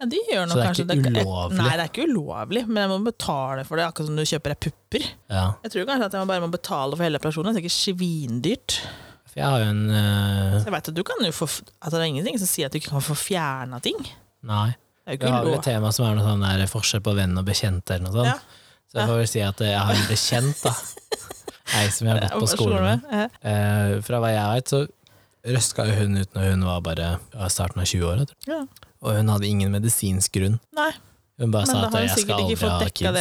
Speaker 2: Ja, de gjør
Speaker 1: Så
Speaker 2: nok
Speaker 1: det er
Speaker 2: kanskje
Speaker 1: ikke
Speaker 2: jeg-
Speaker 1: ulovlig?
Speaker 2: Nei, det er ikke ulovlig, men jeg må betale for det, akkurat som du kjøper deg pupper.
Speaker 1: Ja.
Speaker 2: Jeg tror kanskje at jeg bare må betale for hele operasjonen. Det er sikkert svindyrt.
Speaker 1: For jeg har jo en øh,
Speaker 2: Så Jeg vet at du kan jo få altså Det er ingenting som sier at du ikke kan få fjerna ting. Det
Speaker 1: Nei.
Speaker 2: er jo
Speaker 1: Jeg
Speaker 2: ikke
Speaker 1: har vel
Speaker 2: lov.
Speaker 1: et tema som er noe sånn der forskjell på venn og bekjent, eller noe sånt.
Speaker 2: Ja.
Speaker 1: Så jeg får vel si at jeg har en bekjent, da. Ei som jeg har gått på skolen med.
Speaker 2: Ja.
Speaker 1: Eh, fra hva jeg vet, så røska jo hun ut når hun var bare ja, starten av 20-åra.
Speaker 2: Ja.
Speaker 1: Og hun hadde ingen medisinsk grunn.
Speaker 2: Nei,
Speaker 1: Hun bare
Speaker 2: men
Speaker 1: sa
Speaker 2: da
Speaker 1: at
Speaker 2: har hun
Speaker 1: jeg skal
Speaker 2: sikkert
Speaker 1: aldri
Speaker 2: ikke
Speaker 1: ha
Speaker 2: fått dekka
Speaker 1: kids.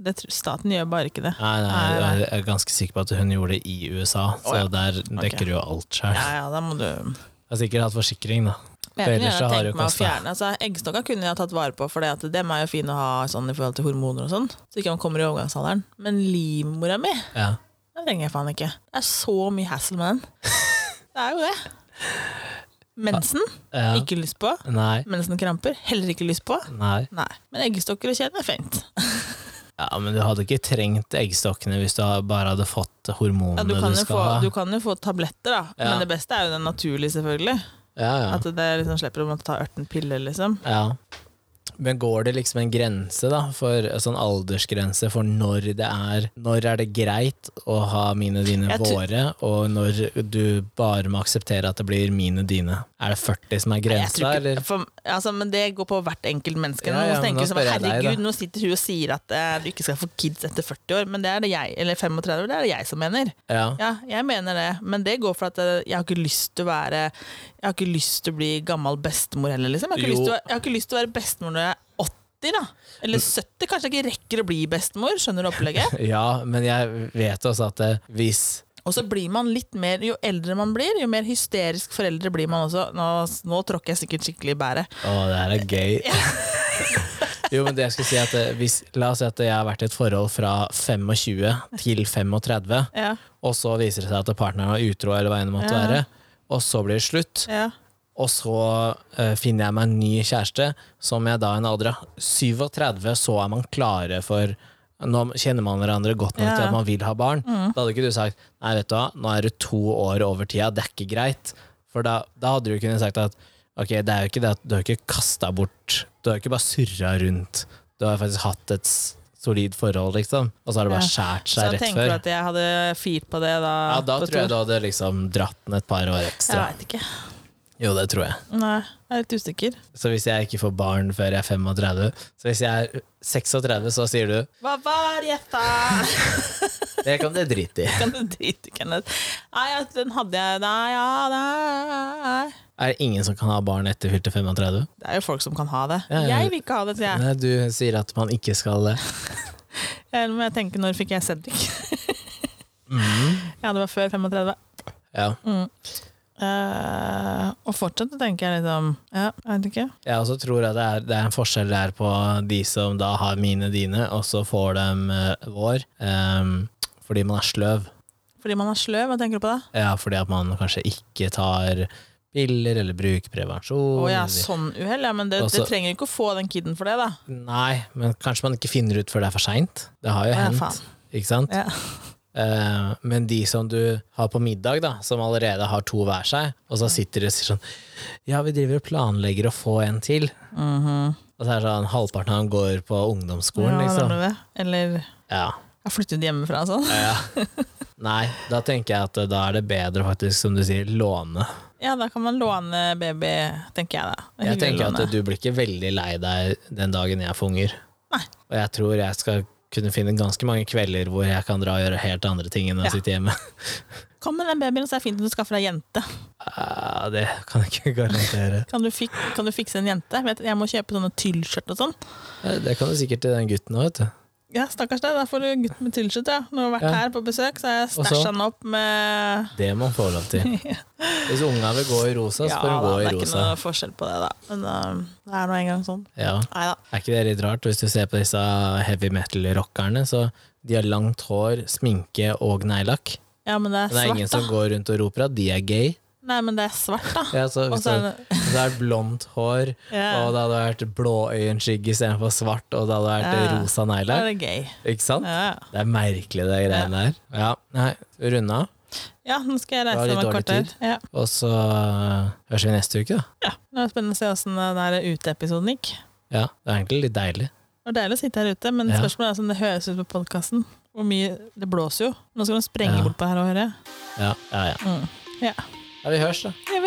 Speaker 2: det. det tr- staten gjør bare ikke det.
Speaker 1: Nei, nei,
Speaker 2: Nei, nei.
Speaker 1: jeg er ganske sikker på at hun gjorde det i USA, så
Speaker 2: Å, ja.
Speaker 1: der dekker du jo alt sjøl.
Speaker 2: Ja, ja, da må du
Speaker 1: Jeg har sikkert hatt forsikring, da.
Speaker 2: Men
Speaker 1: For
Speaker 2: jeg kunne
Speaker 1: ellers så
Speaker 2: gjerne
Speaker 1: har det
Speaker 2: tenkt
Speaker 1: jo
Speaker 2: meg å
Speaker 1: kostet.
Speaker 2: fjerne altså, Eggstokka kunne jeg tatt vare på, for dem er jo fine å ha sånn i forhold til hormoner og sånn. Så ikke man kommer i overgangsalderen. Men livmora mi,
Speaker 1: Ja.
Speaker 2: ja, Det trenger jeg faen ikke. Det er så mye hassle med den. Det er jo det. Mensen.
Speaker 1: Ja.
Speaker 2: Ikke lyst på.
Speaker 1: Nei.
Speaker 2: Mensenkramper. Heller ikke lyst på.
Speaker 1: Nei.
Speaker 2: Nei. Men eggestokker og kjeden er fint.
Speaker 1: Ja, men du hadde ikke trengt eggstokkene hvis du bare hadde fått hormonene
Speaker 2: Ja,
Speaker 1: du,
Speaker 2: du, kan jo
Speaker 1: skal
Speaker 2: få,
Speaker 1: ha.
Speaker 2: du kan jo få tabletter, da.
Speaker 1: Ja.
Speaker 2: Men det beste er jo den naturlige, selvfølgelig.
Speaker 1: Ja, ja.
Speaker 2: At det liksom slipper å måtte ta ørten pille, liksom.
Speaker 1: Ja. Men går det liksom en grense, da, for sånn aldersgrense for når det er Når er det greit å ha mine, dine,
Speaker 2: Jeg tror-
Speaker 1: våre, og når du bare må akseptere at det blir mine, dine? Er det 40 som er
Speaker 2: Jeg
Speaker 1: grensa,
Speaker 2: tror ikke-
Speaker 1: eller?
Speaker 2: for, altså, men det går på hvert enkelt menneske.
Speaker 1: Ja,
Speaker 2: Noen
Speaker 1: ja, men
Speaker 2: tenker
Speaker 1: nå
Speaker 2: som,
Speaker 1: spør jeg deg,
Speaker 2: herregud,
Speaker 1: da.
Speaker 2: nå sitter hun og sier at eh, du ikke skal få kids etter 40 år, men det er det jeg, eller 35, det er det jeg som mener.
Speaker 1: Ja.
Speaker 2: Ja, jeg mener det, men det går for at eh, jeg har ikke lyst til å være Jeg har ikke lyst til å bli gammel bestemor heller, liksom. Jeg har ikke,
Speaker 1: Jo.
Speaker 2: lyst til å, jeg har ikke lyst til å være bestemor når jeg er 80, da. Eller 70. Kanskje jeg ikke rekker å bli bestemor, skjønner du opplegget?
Speaker 1: ja, men jeg vet også at eh, hvis
Speaker 2: Og så blir man litt mer, jo eldre man blir, jo mer hysterisk foreldre blir man også. Nå, nå tråkker jeg sikkert skikkelig i bæret.
Speaker 1: Å, det her er gøy. Jo, men det jeg skulle si at eh, hvis, La oss si at jeg har vært i et forhold fra 25 til 35,
Speaker 2: Ja,
Speaker 1: og så viser det seg at partneren var utro, eller hva enn det måtte
Speaker 2: Ja.
Speaker 1: være, og så blir det slutt.
Speaker 2: ja.
Speaker 1: Og så eh, finner jeg meg en ny kjæreste, som jeg da i en alder av 37 så er man klare for Nå kjenner man hverandre godt nok til
Speaker 2: Ja. Mm.
Speaker 1: at man vil ha barn. Da hadde ikke du sagt Nei, vet du hva, nå er du to år over tida, det er ikke greit. For da, da hadde du kunnet sagt at Ok, det er jo ikke det at du har ikke kasta bort Du har ikke bare surra rundt. Du har faktisk hatt et s- solid forhold, liksom. Og så har det bare skjært
Speaker 2: Så
Speaker 1: seg rett
Speaker 2: tenker du
Speaker 1: før.
Speaker 2: at jeg hadde firt på det da?
Speaker 1: Ja, da
Speaker 2: på
Speaker 1: tror jeg
Speaker 2: to-
Speaker 1: du hadde liksom dratt den et par år
Speaker 2: Jeg
Speaker 1: ekstra.
Speaker 2: veit ikke.
Speaker 1: Jo, det tror jeg.
Speaker 2: Nei, jeg er litt usikker.
Speaker 1: Så hvis jeg ikke får barn før jeg er 35 Så hvis jeg er 36, så sier du
Speaker 2: Hva var gjetta?
Speaker 1: Det kan du drite i.
Speaker 2: Kan du drite, Kenneth? Nei, at den hadde jeg Nei, ja, nei.
Speaker 1: Er det ingen som kan ha barn etter fylte 35?
Speaker 2: Det er jo folk som kan ha det.
Speaker 1: Ja, ja.
Speaker 2: Jeg vil ikke ha det, sier jeg.
Speaker 1: Nei, du sier at man ikke skal det.
Speaker 2: Eller må jeg tenke, når fikk jeg Cedric?
Speaker 1: Mm.
Speaker 2: Ja, det var før 35.
Speaker 1: Ja.
Speaker 2: Eh, og fortsatt tenker jeg liksom Ja, jeg vet ikke.
Speaker 1: Jeg også tror at det er, det er en forskjell der på de som da har mine, dine, og så får dem eh, vår. ehm, fordi man er sløv.
Speaker 2: Fordi man er sløv, hva tenker du på da?
Speaker 1: Ja, fordi at man kanskje ikke tar piller eller bruker prevensjon.
Speaker 2: Å ja,
Speaker 1: eller-
Speaker 2: sånn uhell, ja. Men det,
Speaker 1: Altså-
Speaker 2: det trenger jo ikke å få den kiden for det, da.
Speaker 1: Nei, men kanskje man ikke finner ut før det er for seint. Det har jo
Speaker 2: Å, ja,
Speaker 1: hendt.
Speaker 2: faen.
Speaker 1: Ikke sant?
Speaker 2: Ja.
Speaker 1: Eh, men de som du har på middag, da, som allerede har to hver seg, og så sitter de og sier sånn Ja, vi driver og planlegger å få en til. Og så er det sånn halvparten av dem går på ungdomsskolen,
Speaker 2: Ja,
Speaker 1: liksom.
Speaker 2: mener du det? Eller
Speaker 1: Ja,
Speaker 2: har flyttet hjemmefra og sånn.
Speaker 1: ja. Nei, da tenker jeg at eh, da er det bedre, faktisk, som du sier, låne.
Speaker 2: Ja, da kan man låne baby, tenker jeg da. Det er
Speaker 1: Jeg
Speaker 2: hyggelig å
Speaker 1: tenker
Speaker 2: låne.
Speaker 1: at du blir ikke veldig lei deg den dagen jeg får unger.
Speaker 2: Nei.
Speaker 1: Og jeg tror jeg skal kunne finne ganske mange kvelder hvor jeg kan dra og gjøre helt andre ting enn å
Speaker 2: Ja.
Speaker 1: sitte hjemme.
Speaker 2: Kom med den babyen, så er det fint om du skaffer deg jente.
Speaker 1: Ja, Ah, det kan jeg ikke garantere.
Speaker 2: Kan du, fik kan du fikse en jente? Vet, du, jeg må kjøpe sånne tyllskjørt og sånn.
Speaker 1: Ja, Eh, Det kan du sikkert til den gutten òg, vet du.
Speaker 2: Ja, stakkars deg, da får du gutt med tyllskjørt, ja. Når du har vært
Speaker 1: Ja.
Speaker 2: her på besøk, så har jeg
Speaker 1: Og så-
Speaker 2: stæsja den opp med
Speaker 1: Det må han få lov til. Hvis unga vil gå i rosa, så
Speaker 2: Ja,
Speaker 1: får de
Speaker 2: da,
Speaker 1: gå
Speaker 2: det
Speaker 1: i
Speaker 2: er ikke
Speaker 1: rosa.
Speaker 2: noe forskjell på det, da. Men um, det er nå engang sånn.
Speaker 1: Ja.
Speaker 2: Nei da.
Speaker 1: Er ikke det litt rart? Hvis du ser på disse heavy metal-rockerne, så de har langt hår, sminke og neglelakk.
Speaker 2: Ja, men det
Speaker 1: Men
Speaker 2: er
Speaker 1: det er ingen
Speaker 2: svart,
Speaker 1: som
Speaker 2: da.
Speaker 1: går rundt og roper at de er gay.
Speaker 2: Nei, men det er svart, da.
Speaker 1: Ja, så
Speaker 2: Og
Speaker 1: hvis
Speaker 2: så
Speaker 1: det,
Speaker 2: er det
Speaker 1: hvis det er blondt hår,
Speaker 2: Ja.
Speaker 1: og det hadde vært blåøyenskygge istedenfor svart, og det hadde vært
Speaker 2: Ja.
Speaker 1: rosa
Speaker 2: da er
Speaker 1: neglelakk.
Speaker 2: det gay.
Speaker 1: Ikke sant?
Speaker 2: Ja,
Speaker 1: Det er merkelig, det greiene der. Ja, nei, runde av.
Speaker 2: ja nå skal jeg
Speaker 1: Det var
Speaker 2: reise
Speaker 1: litt
Speaker 2: om et
Speaker 1: dårlig
Speaker 2: kvarter.
Speaker 1: tid.
Speaker 2: Ja.
Speaker 1: Og så høres vi neste uke, da.
Speaker 2: ja. Det er spennende å se åssen den der uteepisoden gikk.
Speaker 1: Ja, det er egentlig litt deilig.
Speaker 2: Det var deilig å sitte her ute, men
Speaker 1: Ja.
Speaker 2: spørsmålet er som det høres ut på podkasten. Hvor mye Det blåser jo. Nå skal de sprenge
Speaker 1: Ja.
Speaker 2: bort på her og høre.
Speaker 1: Ja, ja, ja.
Speaker 2: Ja.
Speaker 1: ja vi høres, da.
Speaker 2: Det